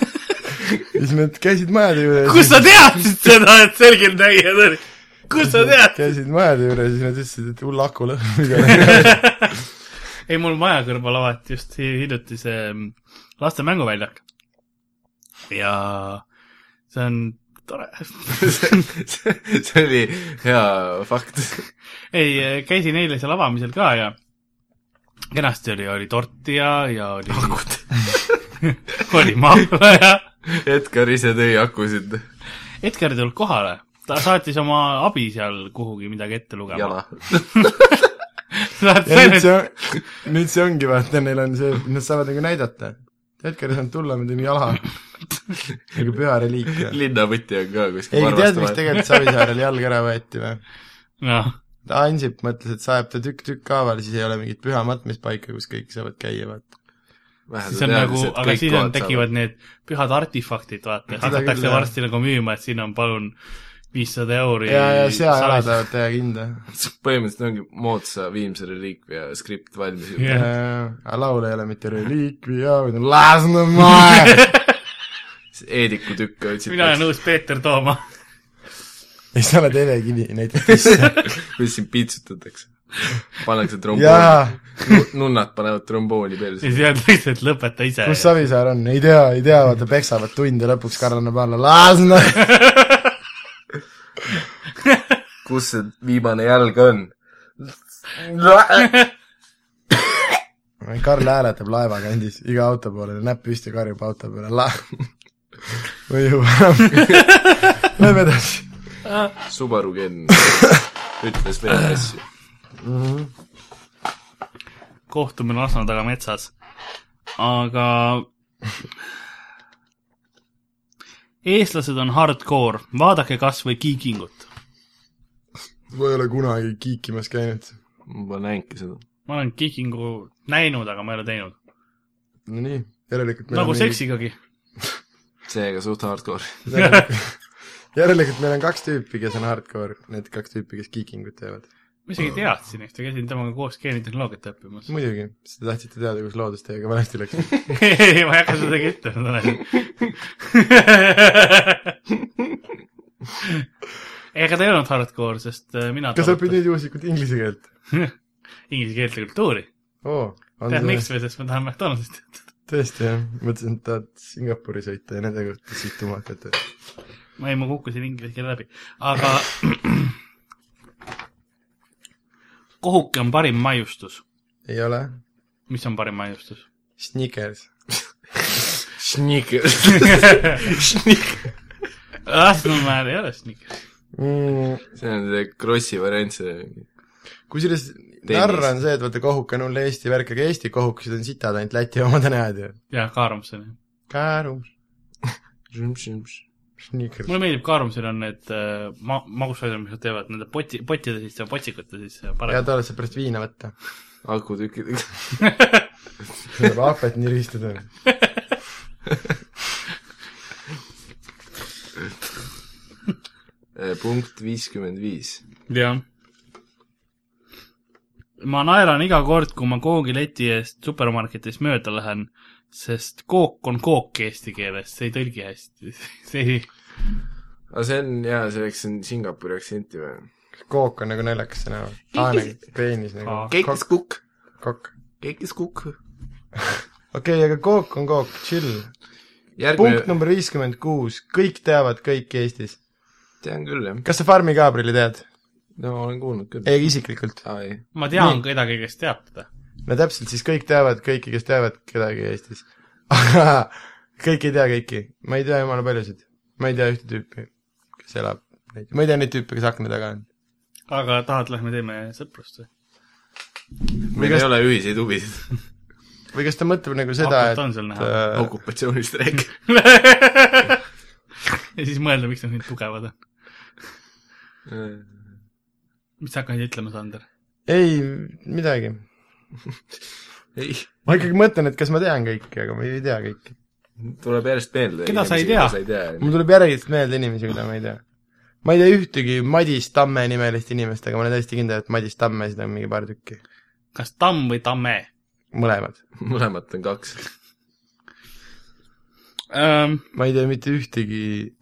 siis nad käisid majade juures .
kus sa teadsid seda , et selgeltnägijad olid ?
kust sa tead ?
käisid majade juures ja siis nad ütlesid , et hull aku lõhn .
ei , mul maja kõrval avati just hi- hiljuti see mm, laste mänguväljak . ja see on tore .
see oli hea fakt .
ei , käisin eile seal avamisel ka ja kenasti oli , oli torti ja , ja oli , oli mahla ja
Edgar ise tõi aku sinna
Edgar ei tulnud kohale , ta saatis oma abi seal kuhugi midagi ette lugema .
jala .
ja nüüd see on , nüüd see ongi vaata , neil on see , nad saavad nagu näidata . Edgar ei saanud tulla , me teeme jala . nagu püha reliik . ei ,
linnavõti on ka kuskil
tead , miks tegelikult Savisaarel jalg ära võeti või ?
jah ,
Ansip mõtles , et saeb ta tükk-tükk haaval , siis ei ole mingit pühamat , mis paika , kus kõik saavad käia , vaata .
siis on nagu , aga siis on , tekivad need pühad artifaktid , vaata ,
Seda küll,
hakatakse
jah.
varsti nagu müüma , et siin on palun viissada euri .
ja , ja seajalad tahavad teha kinda .
põhimõtteliselt ongi moodsa viimse reliikvia skript valmis juba
Jah.
yeah. .
aga laul ei ole mitte reliikvia , vaid on Lasnamäe .
Eediku tükke otsib .
mina olen nõus Peeter Tooma .
ja siis sa oled Eve Kivi näiteks sisse .
kuidas sind piitsutatakse ? pannakse
jaa
trombooni ,, nunnad panevad trombooni
ja
perse .
siis öeldakse , et lõpeta ise .
kus Savisaar on , ei tea , ei tea , vaata peksavad tunde , lõpuks Karl annab alla , Lasnamäe .
kus see viimane jalg on ?
Karl hääletab laeva kandis iga auto poole , näpp püsti karjub auto peale , la- . või juba enam . Lähme edasi .
Subaru Ken ütles veel asju .
kohtume Lasna taga metsas . aga eestlased on hardcore , vaadake kas või Kiikingut .
ma ei ole kunagi kiikimas käinud .
ma pole näinudki seda .
ma olen Kiikingu näinud , aga ma ei ole teinud .
Nonii , järelikult meil
nagu
on
seksigagi .
seega suht hardcore .
mingi... . järelikult meil on kaks tüüpi , kes on hardcore , need kaks tüüpi , kes kiikingut teevad .
ma isegi teadsin , eks ta käisin temaga koos geenitehnoloogiat õppimas .
muidugi , sest te tahtsite teada , kus loodus teiega valesti läks .
ei , ma ei hakka seda ütlema , Tanel . ega ta ei olnud hardcore , sest äh, mina
kas sa õpid nüüd juhuslikult inglise keelt ?
inglise keelt ja kultuuri .
oo , on
tead
see
miks või , sest ma tahan McDonaldsit .
tõesti jah , mõtlesin , et tahad Singapuri sõita ja nende kohta siit tuma hakata .
ma ei , ma kukkusin inglise keele läbi , aga kohuke on parim maiustus .
ei ole ?
mis on parim maiustus ?
Snickers .
Sneaker .
Lasnamäel ei ole snikker .
mm, .
see on see Krossi variant , see
kusjuures narr on see , et vaata kohuk on hull Eesti värk , aga Eesti kohukesed on sitad , ainult Läti omad on head ju .
jah , Kaarumsoni .
Käärum ,
see
Snickers .
mulle meeldib , Kaarumsel on need äh, ma- , magustoidud , mis nad teevad nende poti , pottide sisse , potsikute sisse
hea
parem .
ta oleks , saab pärast viina võtta .
akutükid .
saab hapet niristada .
Äh, punkt viiskümmend viis .
jah . ma naeran iga kord , kui ma koogileti eest supermarketis mööda lähen , sest kook on kook eesti keeles , see ei tõlgi hästi , see ei
aga see on jaa , selleks on Singapuri aktsenti või ?
kook on nagu naljakas sõna . aa , nagu peenis nagu .
keikis kukk ,
kokk .
keikis kukk .
okei okay, , aga kook on kook , chill . punkt
järgmine ,
number viiskümmend kuus , kõik teavad kõiki Eestis .
tean küll jah ,
kas sa Farmi Gabrieli tead ?
no olen kuulnud küll .
ei , isiklikult .
aa ei ,
ma tean kedagi , kes teab teda .
no täpselt , siis kõik teavad kõiki , kes teavad kedagi Eestis . aga kõik ei tea kõiki , ma ei tea jumala paljusid , ma ei tea ühte tüüpi , kes elab , ma ei tea neid tüüpe , kes akna taga on .
aga tahad , lähme teeme sõprust või ?
meil
kas-
ei ole ühiseid huvisid ,
või kas ta mõtleb nagu seda ,
Aknad on seal
et
näha.
äh,
okupatsioonist rääkida .
ja siis mõelda , miks nad nii tugevad on .
ma
mis sa hakkasid ütlema , Sander ?
ei midagi .
ei ,
ma ikkagi mõtlen , et kas ma tean kõiki , aga ma ei tea kõiki .
tuleb järjest meelde .
Keda sa ei tea?
sa ei tea ,
mul tuleb järjest meelde inimesi , keda ma ei tea . ma ei tea ühtegi Madis Tamme nimelist inimest , aga ma olen täiesti kindel , et Madis Tammesid on mingi paar tükki ,
kas tamm või tamme
mõlemad .
mõlemat on kaks .
ähm, ?
Ähm, ma ei tea mitte ühtegi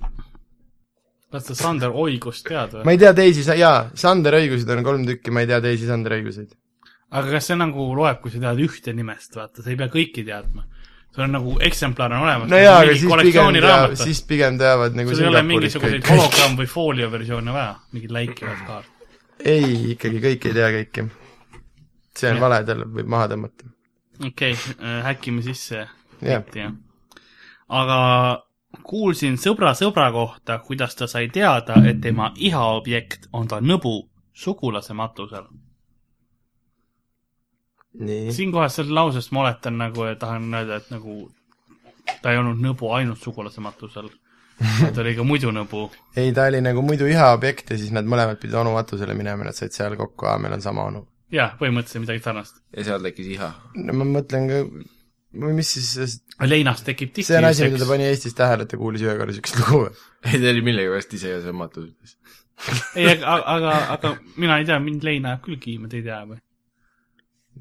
las ta Sander Oigust tead või ?
ma ei tea teisi sa- , jaa , Sander õiguseid on kolm tükki , ma ei tea teisi Sander õiguseid .
aga kas see nagu loeb , kui sa tead ühte nimest , vaata , sa ei pea kõiki teadma . sul on nagu eksemplar on olemas .
no jaa , aga siis pigem teavad , siis pigem teavad nagu
sul ei ole
Singapuris
mingisuguseid
kõik .
hologramm või foolio versioone vaja , mingeid läikivaid kaarte .
ei , ikkagi kõik ei tea kõike . see on
Jah.
vale , tal võib maha tõmmata .
okei okay, , häkkime sisse
jah ,
jah . aga kuulsin sõbra sõbra kohta , kuidas ta sai teada , et tema ihaobjekt on ta nõbu sugulase matusel .
nii .
siinkohas sellest lausest ma oletan nagu , tahan öelda , et nagu ta ei olnud nõbu ainult sugulase matusel . ta oli ka muidu nõbu .
ei , ta oli nagu muidu iha objekt ja siis nad mõlemad pidid onu matusele minema ja nad said seal kokku , aa , meil on sama onu .
jah , põhimõtteliselt midagi sarnast .
ja seal tekkis iha .
no ma mõtlen ka , või mis siis ,
leinast tekib tihti
see on asi , mida ta . pani Eestis tähele , et ta kuulis ühe korra niisugust lugu .
ei , ta oli millegipärast ise ka seal matus .
ei , aga , aga , aga mina ei tea , mind lein ajab küll kiima , te ei tea või ?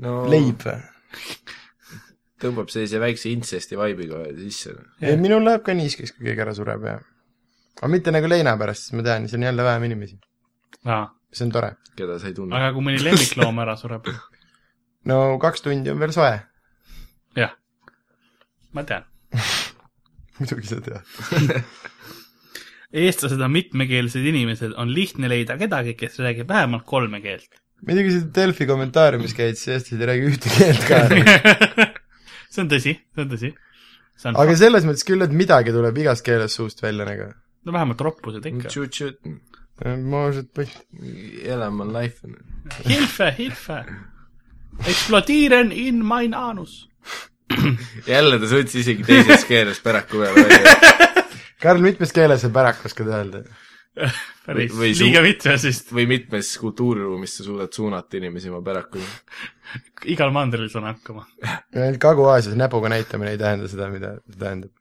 no
leib või ?
tõmbab sellise väikse intsesti vibe'iga sisse .
ei , minul läheb ka niiskeks , kui keegi ära sureb ja aga mitte nagu leina pärast , sest ma tean , siis on jälle vähem inimesi .
aga
see on tore .
keda sa ei tunne .
kui mõni lemmikloom ära sureb ,
no kaks tundi on veel soe .
jah , ma tean .
muidugi sa tead .
eestlased on mitmekeelsed inimesed , on lihtne leida kedagi , kes räägib vähemalt kolme keelt .
muidugi see Delfi kommentaariumis käid , siis eestlased ei räägi ühte keelt ka .
see on tõsi , see on tõsi . see on
aga
aga... ,
selles mõttes küll , et midagi tuleb igas keeles suust välja nagu .
no vähemalt roppused ikka .
Tšut-tšut ,
Может быть .
elame on life .
Hilfe , hilfe . Explodieren in mein anus .
jälle ta suutis isegi teises keeles päraku peale välja .
Karl , mitmes keeles sa pärak oskad öelda ?
päris
Või- või , su-
liiga mitmesest ,
või mitmes kultuuriruumis sa suudad suunata inimesi oma pärakuni .
igal mandril saan hakkama .
ainult Kagu-Aasias näpuga näitamine ei tähenda seda , mida ta tähendab .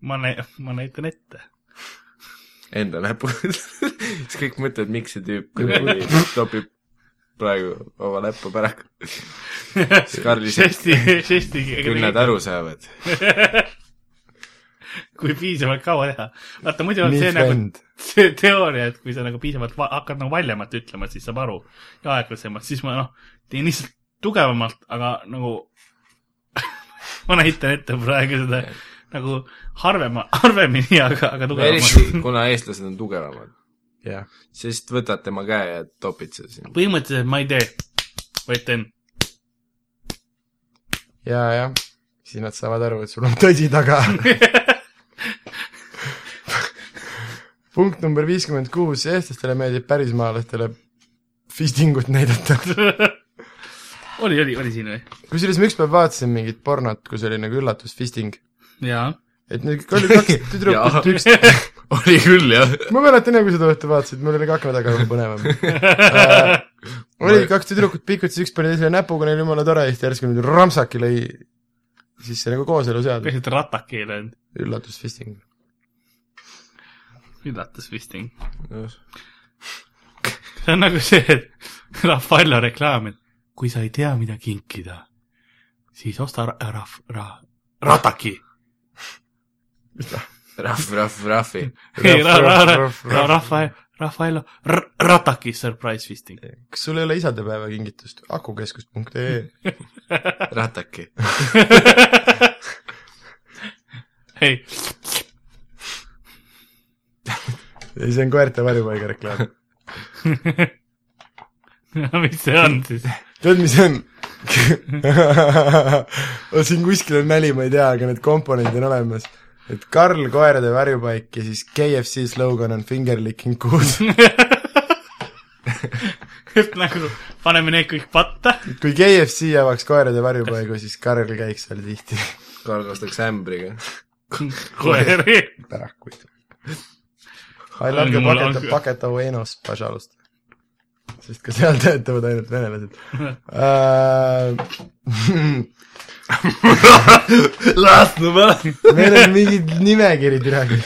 ma nä- , ma näitan ette .
Enda näpuga . siis kõik mõtlevad , miks see tüüp kuidagi topib praegu oma näppu päraku . siis Karl ise ,
žesti , žestiga
küll nad aru saavad .
kui piisavalt kaua teha . vaata , muidu on
Nii
see nagu
friend.
see teooria , et kui sa nagu piisavalt va- hakkad nagu valjemalt ütlema , siis saab aru ja aeglasemalt , siis ma noh , teen lihtsalt tugevamalt , aga nagu ma näitan ette praegu seda nagu harvema , harvemini , aga , aga tugevamalt .
eriti , kuna eestlased on tugevamad ,
jah .
siis võtad tema käe ja topid seda sinna .
põhimõtteliselt ma ei tee , vaid teen ,
ja , jah . siis nad saavad aru , et sul on tõsi taga . punkt number viiskümmend kuus , eestlastele meeldib pärismaalastele fistingut näidata .
oli , oli , oli siin või ?
kusjuures ma ükspäev vaatasin mingit pornot , kus oli nagu üllatusfisting .
jaa .
et need oli kaks tüdrukut , üks ,
oli küll , jah .
ma mäletan jah , kui seda õhtul vaatasid , mul oli ka akna taga juba põnevam . Äh, oli kaks tüdrukut piikutasid , üks pani teisele näpuga , neil jumala tore , siis ta järsku niimoodi rampsaki lõi sisse nagu kooseluseadus ,
lihtsalt rataki ei löönud ,
üllatusfisting .
üllatas vist .
Noh,
see on nagu see , et Raffaello reklaam , et kui sa ei tea , mida kinkida , siis osta ra- , raf- , ra- , rataki .
rahv , rahv , rahvi .
ei , ra- , ra- , ra- ,
Raf-
ra- ,
raf-
Raffaello , Raffaello , rataki surprise fisting .
kas sul ei ole isadepäeva kingitust ? akukeskus.ee
rataki .
ei ,
ei , see on koerte varjupaiga reklaam .
mis see on siis ?
tead , mis see on ? siin kuskil on nali , ma ei tea , aga need komponendid on olemas . et Karl koerade varjupaik ja siis KFC slogan on finger licking kuus .
et nagu paneme need kõik patta ,
kui KFC avaks koerade varjupaigu , siis Karl käiks seal tihti
Karl ostaks ämbriga .
koeri .
pärakuid . Allarge
Mul
paketa
on- ,
paketa Buenos , pažalust . sest ka seal töötavad ainult venelased Äh,
las no ma .
meil on mingid nimekiri praegu .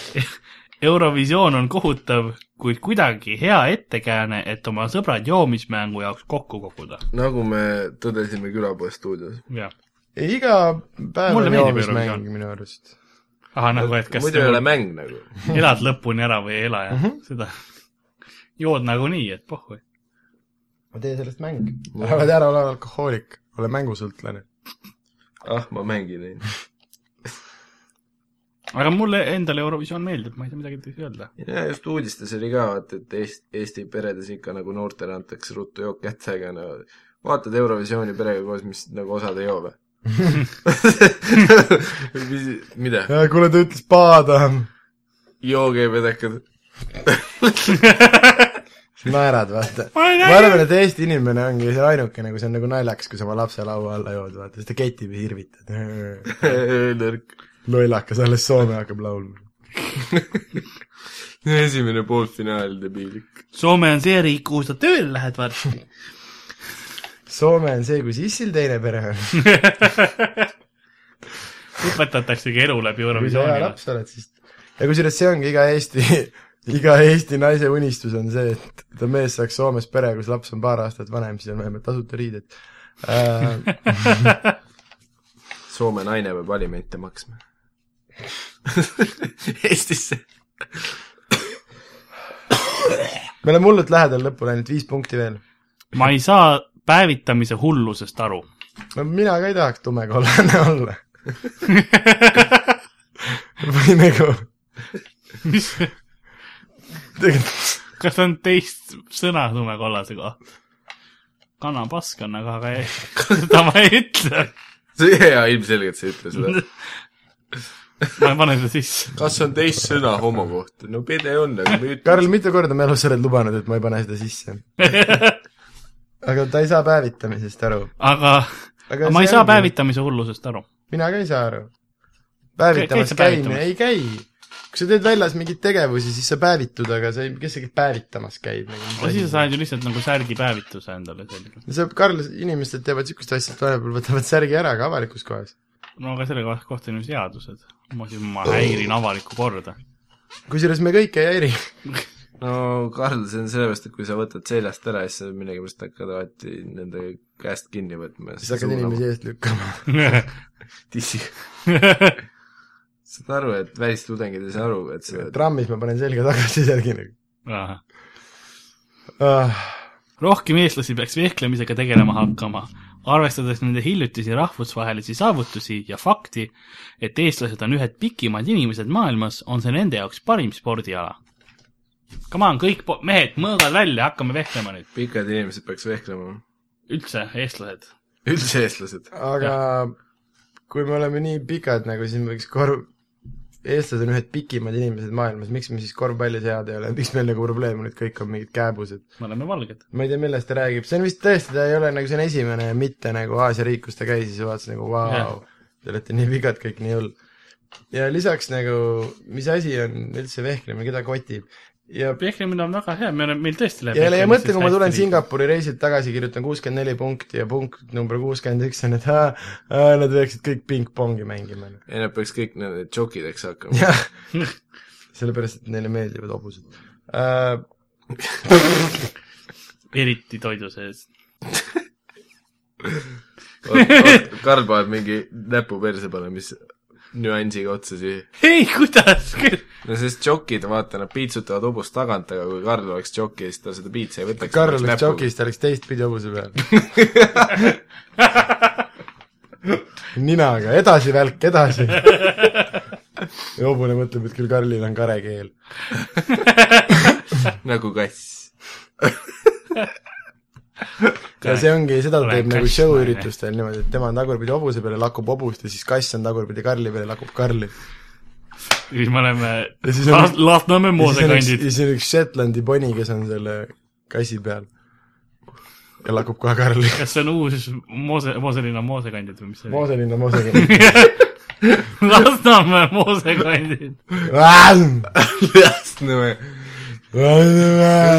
Eurovisioon on kohutav , kuid kuidagi hea ettekääne , et oma sõbrad joomismängu jaoks kokku koguda .
nagu me tõdesime külapoe stuudios .
jah ,
iga päev
Mulle
on
meeldib
joomismäng
Eurovisioon.
minu arust .
ahah , nagu et kas
muidu ei ole mäng nagu .
elad lõpuni ära või ei ela ja seda . jood nagunii , et pohhu .
ma teen sellest mängu . ära , ära ole alkohoolik , ole mängusõltlane .
ah , ma mängin neid .
aga mulle endale Eurovisioon meeldib , ma ei saa midagi teist öelda .
ja just uudistes oli ka , vaata , et Eesti , Eesti peredes ikka nagu noortele antakse ruttu jook kätte , aga no vaatad Eurovisiooni perega koos , mis nagu osad ei joome . mida ?
kuule , ta ütles paadam .
jooge pedekad .
naerad , vaata .
ma ei
ma arvan , et Eesti inimene ongi see ainukene , kui see on nagu naljakas , kui sa oma lapse laua alla jood , vaata , siis ta ketib ja irvitad .
nõrk .
lollakas , alles Soome hakkab laulma .
esimene poolfinaal , debiilik .
Soome on see riik , kuhu sa tööle lähed varsti .
Soome on see , kus issil teine pere on .
õpetataksegi elu läbi
kui sa hea
Eurovisioonile .
laps oled , siis ja kusjuures see ongi iga Eesti , iga Eesti naise unistus on see , et ta mees saaks Soomes pere , kus laps on paar aastat vanem , siis on vähemalt tasuta riided äh, .
Soome naine peab alimente maksma . Eestisse .
me oleme hullult lähedal lõpule , ainult viis punkti veel .
ma ei saa päevitamise hullusest aru .
no mina ka ei tahaks tumekollane olla . või nagu ,
mis ,
tegelikult
kas on teist sõna tumekollase kohta ? kanapask on , aga , aga ei- seda ma ei ütle .
jaa , ilmselgelt sa ei ütle seda .
ma ei pane seda sisse .
kas on teist sõna homo kohta ? no pede on , aga me ei ütle .
Karl , mitu korda me elus oled lubanud , et ma ei pane seda sisse ? aga ta ei saa päevitamisest aru .
aga , aga ma ei saa . päevitamise hullusest aru .
mina ka ei saa aru .
Käid
päevitamas
sa
käimine ,
päevitamas?
ei käi . kui sa teed väljas mingeid tegevusi , siis sa päevitud , aga sa ei , kes see päevitamas käib
no siis sa
nagu ?
saad ju lihtsalt nagu särgipäevituse endale selline .
see , Karl , inimesed teevad niisugust asja , et vahepeal võtavad särgi ära ka avalikus kohas .
no aga selle koha- kohta on ju seadused . ma siis , ma häirin avalikku korda .
kusjuures me kõik ei häiri .
no Karl , see on sellepärast , et kui sa võtad seljast ära , siis sa millegipärast hakkad alati nende käest kinni võtma .
siis hakkad inimesi eest lükkama .
tissi . saad aru , et välistudengid ei saa aru , et sa
trammis ma panen selga tagasi särgi nagu ah, .
rohkem eestlasi peaks vehklemisega tegelema hakkama , arvestades nende hiljutisi rahvusvahelisi saavutusi ja fakti , et eestlased on ühed pikimad inimesed maailmas , on see nende jaoks parim spordiala . Come on , kõik po- mehed , mõõgad välja , hakkame vehklema nüüd .
pikad inimesed peaks vehklema .
üldse , eestlased .
üldse eestlased .
aga kui me oleme nii pikad nagu , siis me võiks korv , eestlased on ühed pikimad inimesed maailmas , miks me siis korvpallis head ei ole , miks meil nagu probleem on , et kõik on mingid kääbused ?
me oleme valged .
ma ei tea , millest ta räägib , see on vist tõesti , ta ei ole nagu , see on esimene mitte nagu Aasia riik , kus ta käis ja siis vaatas nagu vau
Jah.
wow, , te olete nii pikad kõik , nii hull . ja lisaks nagu , mis asi on üldse vehklemine , keda kotib ja
vehklemine on väga hea , me oleme , meil tõesti läheb .
ja , ja mõtle , kui ma tulen . Singapuri reisilt tagasi , kirjutan kuuskümmend neli punkti ja punkt number kuuskümmend üks on , et aa, aa, nad peaksid kõik pingpongi mängima .
ei , nad peaks kõik nende tšokideks hakkama .
jah , sellepärast , et neile meeldivad hobused uh, .
eriti toidu sees .
Karl paneb mingi näpu perse peale , mis nüansiga otsa siia .
ei , kuidas küll .
no sest tšokid , vaata , nad piitsutavad hobust tagant , aga kui Karl oleks tšoki , siis ta seda piitsa ei võtaks .
Karl oleks . jokis , ta oleks teistpidi hobuse peal . ninaga , edasi välk , edasi . ja hobune mõtleb , et küll Karlil on karekeel .
nagu kass .
ja see ongi , seda ta
Olen
teeb nagu
kass,
show
ma ei tea.
üritustel niimoodi , et tema on tagurpidi hobuse peal ja lakub hobust ja siis kass on tagurpidi Karli peal ja lakub Karli .
siis me oleme
Ja siis on-
Las- Lasnamäe
ja siis on üks ,
moodekandid
ja . siis on üks Shetlandi poni , kes on selle kassi peal . ja lakub kohe Karli .
kas see on uus Moose , Mooselinna moosekandid või mis see oli ?
Mooselinna moosega .
Lasnamäe moosekandid .
Lasnamäe ,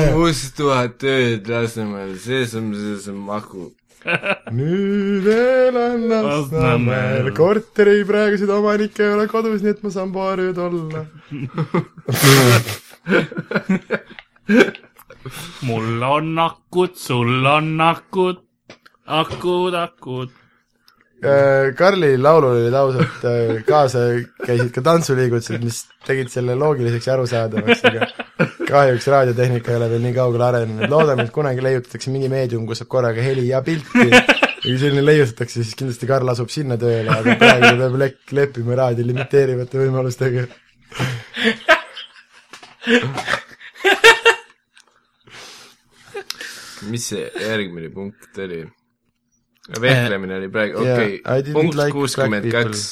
kuus tuhat tööd Lasnamäel , sees on , sees on maku .
nüüd elan Lasnamäel , korteri praeguseid omanikke ei ole kodus , nii et ma saan paar ööd olla .
mul on akud , sul on akud , akud , akud .
Äh, Karli laulul olid ausalt äh, kaasa , käisid ka tantsuliigutused , mis tegid selle loogiliseks ja arusaadavaks , aga kahjuks raadiotehnika ei ole veel nii kaugele arenenud , loodame , et kunagi leiutatakse mingi meedium , kus saab korraga heli ja pilti ja kui selline leiutatakse , siis kindlasti Karl asub sinna tööle , aga praegu peab lek- , leppima raadio limiteerivate võimalustega .
mis see järgmine punkt oli ? vehklemine oli praegu ,
Yeah,
okei
I
okay. ,
didn't
punkt
like
kuuskümmend
black
kaks .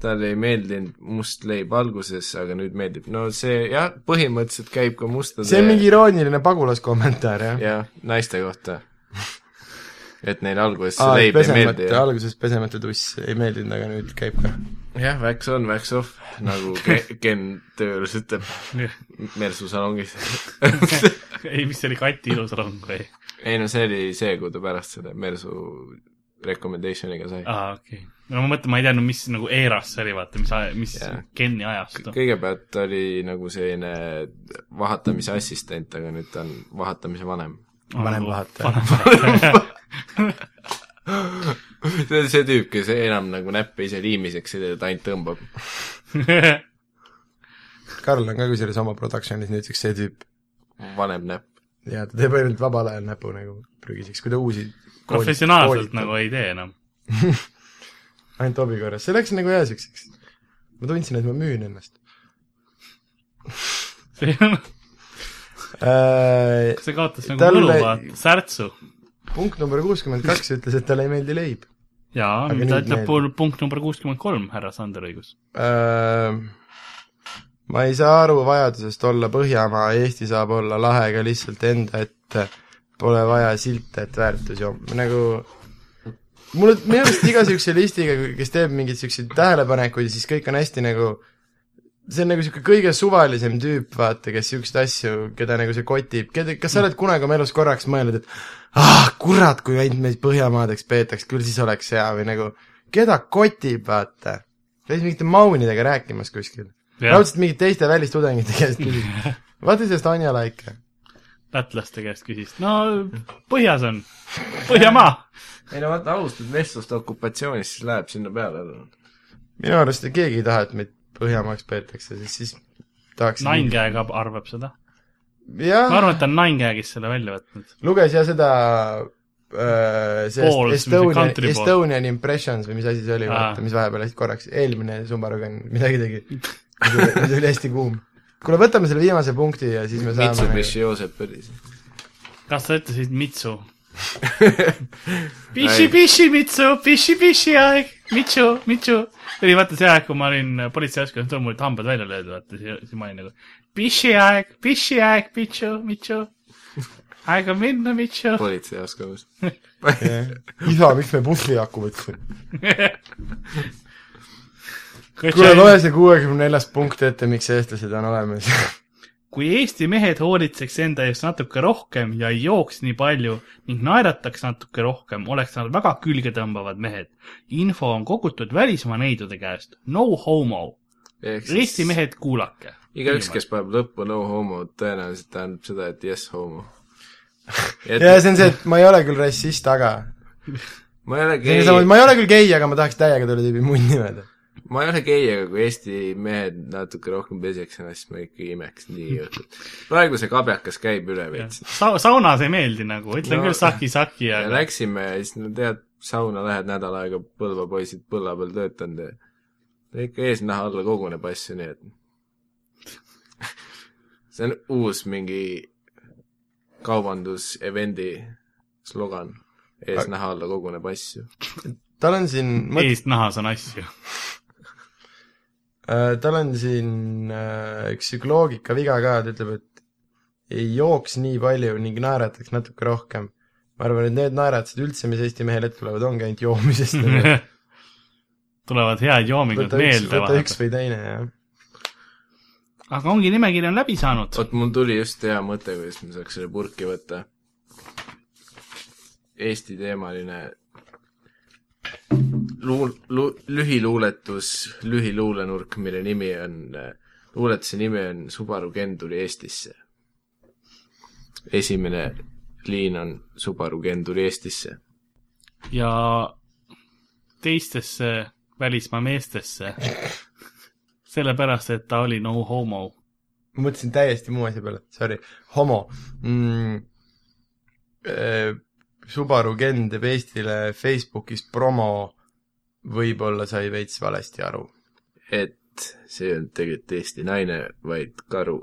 talle ei meeldinud must leib alguses , aga nüüd meeldib . no see jah , põhimõtteliselt käib ka mustade
see on mingi irooniline pagulaskommentaar , jah ?
jah , naiste kohta . et neile alguses see
aa ,
leib ei meeldi
pesemata ,. alguses pesemata tuss ei meeldinud , aga nüüd käib ka .
jah , väks on , väks off , nagu Ke- Ken Töölus ütleb mersusalongis .
ei , mis see oli , Kati ilus rong või ?
ei no see oli see , kui ta pärast selle mersu recommendation'iga sai .
aa , okei okay. . no ma mõtlen , ma ei teadnud , mis nagu eras see oli , vaata , mis , mis
Jaa.
Kenni ajast .
kõigepealt ta oli nagu selline vahatamise assistent , aga nüüd ta on vahatamise vanem .
vanem
nagu
vahataja.
vanem vahataja .
see on see tüüp , kes enam nagu näppe ise liimiseks ei tee , ta ainult tõmbab .
Karl on ka kusjuures oma production'is nüüdseks see tüüp
vanem näpp .
ja ta teeb ainult vabal ajal näpu nagu prügiseks , kui ta uusi
professionaalselt . nagu ei tee enam .
ainult hobi korras , see läks nagu hea siukseks . ma tundsin , et ma müün ennast
see on ,
äh, .
see kaotas nagu
Tal-
Talle... mõnu , vaata , särtsu .
punkt number kuuskümmend kaks ütles , et talle ei meeldi leib
jaa ,
Aga
mida
nüüd
ütleb
meeldib.
pool punkt number kuuskümmend kolm , härra Sander Õigus ?
äh, . ma ei saa aru vajadusest olla Põhjamaa , Eesti saab olla lahe ka lihtsalt enda ette , pole vaja silte , et väärtusi on , nagu mul on minu arust iga niisuguse listiga , kes teeb mingeid niisuguseid tähelepanekuid , siis kõik on hästi nagu see on nagu niisugune kõige suvalisem tüüp , vaata , kes niisuguseid asju , keda nagu see kotib , keda , kas sa oled kunagi oma elus korraks mõelnud , et ah , kurat , kui ainult meid Põhjamaadeks peetaks , küll siis oleks hea või nagu keda kotib , vaata käis mingite maunidega rääkimas kuskil . raudselt mingite teiste välistudengite käest küsis . What is just Anja Laike ?
lätlaste käest küsis , no põhjas on , Põhjamaa .
ei no vaata , alustad vestlust okupatsioonist , siis läheb sinna peale .
minu arust keegi ei taha , et meid Põhjamaaks peetakse , siis , siis tahaks
Nainkäe ka arvab seda . ma
jah ,
arvan , et ta on Nainkäe , kes selle välja võtnud .
luges jah seda äh, see
Balls, mis see
Estonian ,
country ball.
Estonian Impressions või mis asi see oli ,
Aa.
vaata , mis vahepeal läks korraks , eelmine Sumbarugan midagi tegi . see oli hästi kuum . kuule , võtame selle viimase punkti ja siis me saame
Mitsubishi Joosep oli see .
kas sa ütlesid Mitsu ? Pishi , pishi , Mitsu , pishi , pishi aeg , Mitsu , Mitsu . oli vaata see aeg , kui ma olin äh, politseiaskendas , tol mul olid hambad välja löödud , vaata , siis ma olin nagu pishi aeg , pishi aeg , Mitsu , Mitsu . aeg on minna , Mitsu .
politseijaoskonnas .
Jah. isa , miks me bussiaku võtsime ? kuule , loe see kuuekümne neljas punkt ette , miks eestlased on olemas
kui Eesti mehed hoolitseks enda eest natuke rohkem ja ei jooks nii palju ning naerataks natuke rohkem , oleks nad väga külgetõmbavad mehed . info on kogutud välismaa neidude käest . no homo . Eesti . mehed , kuulake .
igaüks , kes paneb lõppu no homo , tõenäoliselt tähendab seda , et yes homo .
ja see on see , et ma ei ole küll rassist , aga
ma ei ole
see on
gei ,
samamoodi , ma ei ole küll gei , aga ma tahaks täiega tule tüübi munni mööda .
ma ei ole gei , aga kui Eesti mehed natuke rohkem peseks ennast , siis ma ikka imeks nii õhtut . praegu see kabjakas käib üle veits .
Sa- , saunas ei meeldi nagu , ütlen
No.
no. küll saki-saki ,
ja
aga
läksime ja siis no tead , sauna lähed nädal aega , Põlva poisid põlla peal töötanud ja ta ikka eesnaha alla koguneb asju , nii et see on uus mingi kaubandus-event'i slogan , eesnaha alla koguneb asju .
tal on siin ,
eestnahas on asju .
äh, tal on siin äh, üks sihuke loogikaviga ka , ta ütleb , et ei jooks nii palju ning naerataks natuke rohkem . ma arvan , et need naeratused üldse , mis Eesti mehel ette tulevad , ongi ainult joomisest .
tulevad head joomingud
võta üks ,
meelde
võta
vahepeal .
üks või teine , jah .
aga ongi nimekiri on läbi saanud .
vot mul tuli just hea mõte , kuidas me saaks selle purki võtta . Eesti teemaline luul- , lu- , lühiluuletus , lühiluulenurk , mille nimi on , luuletuse nimi on Subaru Ken tuli Eestisse . esimene liin on Subaru Ken tuli Eestisse .
ja teistesse välismaa meestesse . sellepärast , et ta oli no homo .
ma mõtlesin täiesti muu asja peale , sorry , homo mm, . Subaru Ken teeb Eestile Facebookis promo , võib-olla sai veits valesti aru .
et see on tegelikult Eesti naine , vaid karu .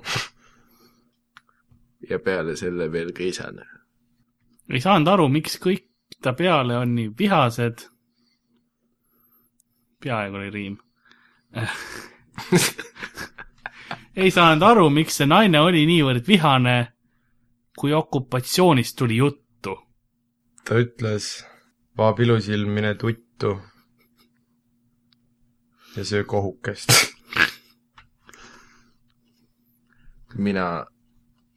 ja peale selle veel keisane .
ei saanud aru , miks kõik ta peale on nii vihased . peaaegu oli riim . ei saanud aru , miks see naine oli niivõrd vihane , kui okupatsioonist tuli juttu .
ta ütles , vaab ilusilm , mine tuttu ja söö kohukest .
mina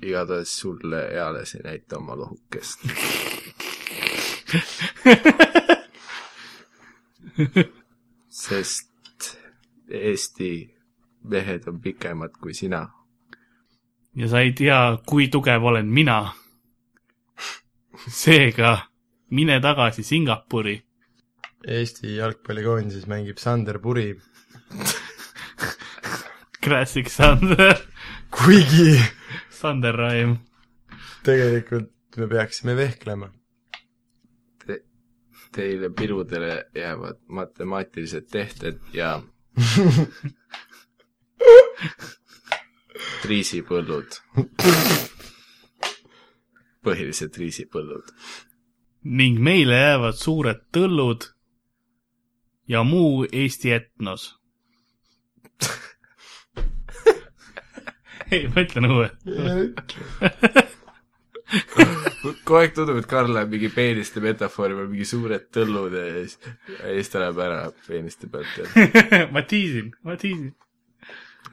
igatahes sulle eales ei näita oma lohukest . sest Eesti mehed on pikemad kui sina .
ja sa ei tea , kui tugev olen mina . seega mine tagasi Singapuri .
Eesti jalgpallikoondises mängib Sander Puri ,
Classic Sander ,
kuigi
Sander Raim .
tegelikult me peaksime vehklema .
Teile pirudele jäävad matemaatilised tehted ja riisipõllud . põhiliselt riisipõllud .
ning meile jäävad suured tõllud ja muu Eesti etnos . ei , ma ütlen uue .
kogu aeg tundub , et Karl läheb mingi peeniste metafoori peal , mingi suured tõllud ja siis , ja siis ta läheb ära peeniste pealt ja
ma tiisin , ma tiisin .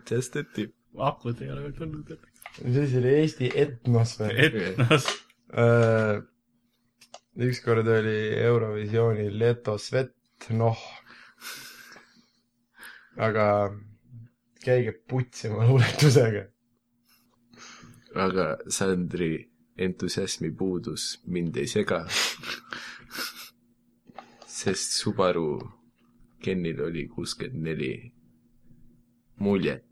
just a tip .
akud ei ole veel tulnud .
mis asi see oli , Eesti etnos või ?
etnos .
Äh, ükskord oli Eurovisioonil Leto Svetnoh . aga käige putsima luuletusega .
aga Sandri entusiasmi puudus mind ei sega . sest Subaru Kenil oli kuuskümmend neli muljet .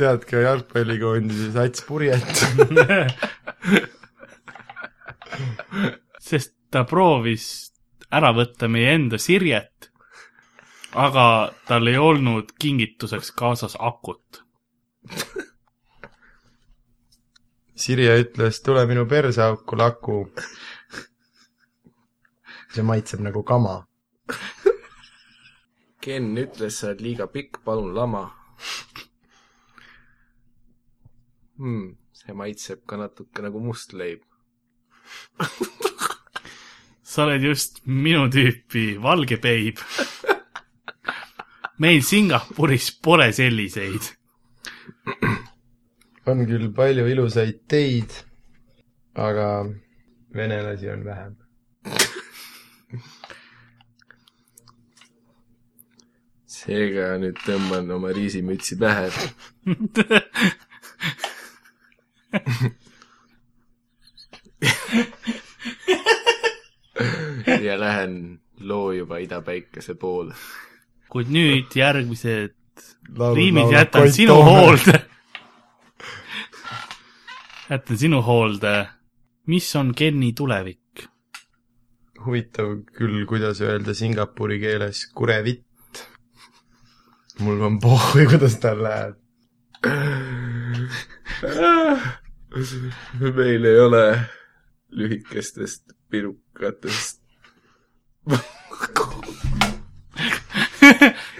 tead ka jalgpallikoondises Ats Purjet .
sest ta proovis ära võtta meie enda Sirjet , aga tal ei olnud kingituseks kaasas akut .
Sirje ütles , tule minu perseauku , laku . see maitseb nagu kama .
Ken ütles , sa oled liiga pikk , palun lama hmm, . see maitseb ka natuke nagu must leib .
sa oled just minu tüüpi valge peib . meil Singapuris pole selliseid .
on küll palju ilusaid teid , aga venelasi on vähem .
seega nüüd tõmban oma riisimütsi pähe . ja lähen loojuva idapäikese poole .
kuid nüüd järgmised riimid jätan sinu . hoolde . jätan sinu hoolde . mis on Kenni tulevik ?
huvitav küll , kuidas öelda singapuri keeles kurevitt . mul on pohhui , kuidas tal läheb .
meil ei ole lühikestest pirukatest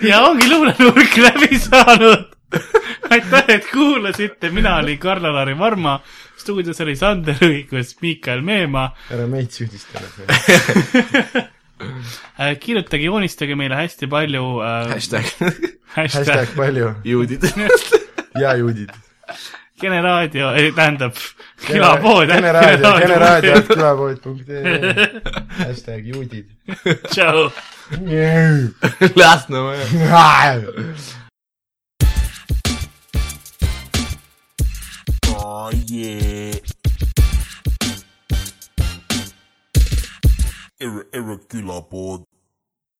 ja ongi luulenurk läbi saanud . aitäh , et kuulasite , mina olin Karl-Alari Varma , stuudios oli Sander Õigus , Miikael Meemaa .
ära meid süüdista .
Äh, kirjutage , joonistage meile hästi palju äh,
hashtag
hashtag
hashtag palju
juudid .
ja juudid .
Kene raadio , ei tähendab , kilapood .
Kene raadio , Kene raadio , kilapood.ee , hashtag juudid .
tšau .
Lasnamäe .
Oh yeah. irregular board.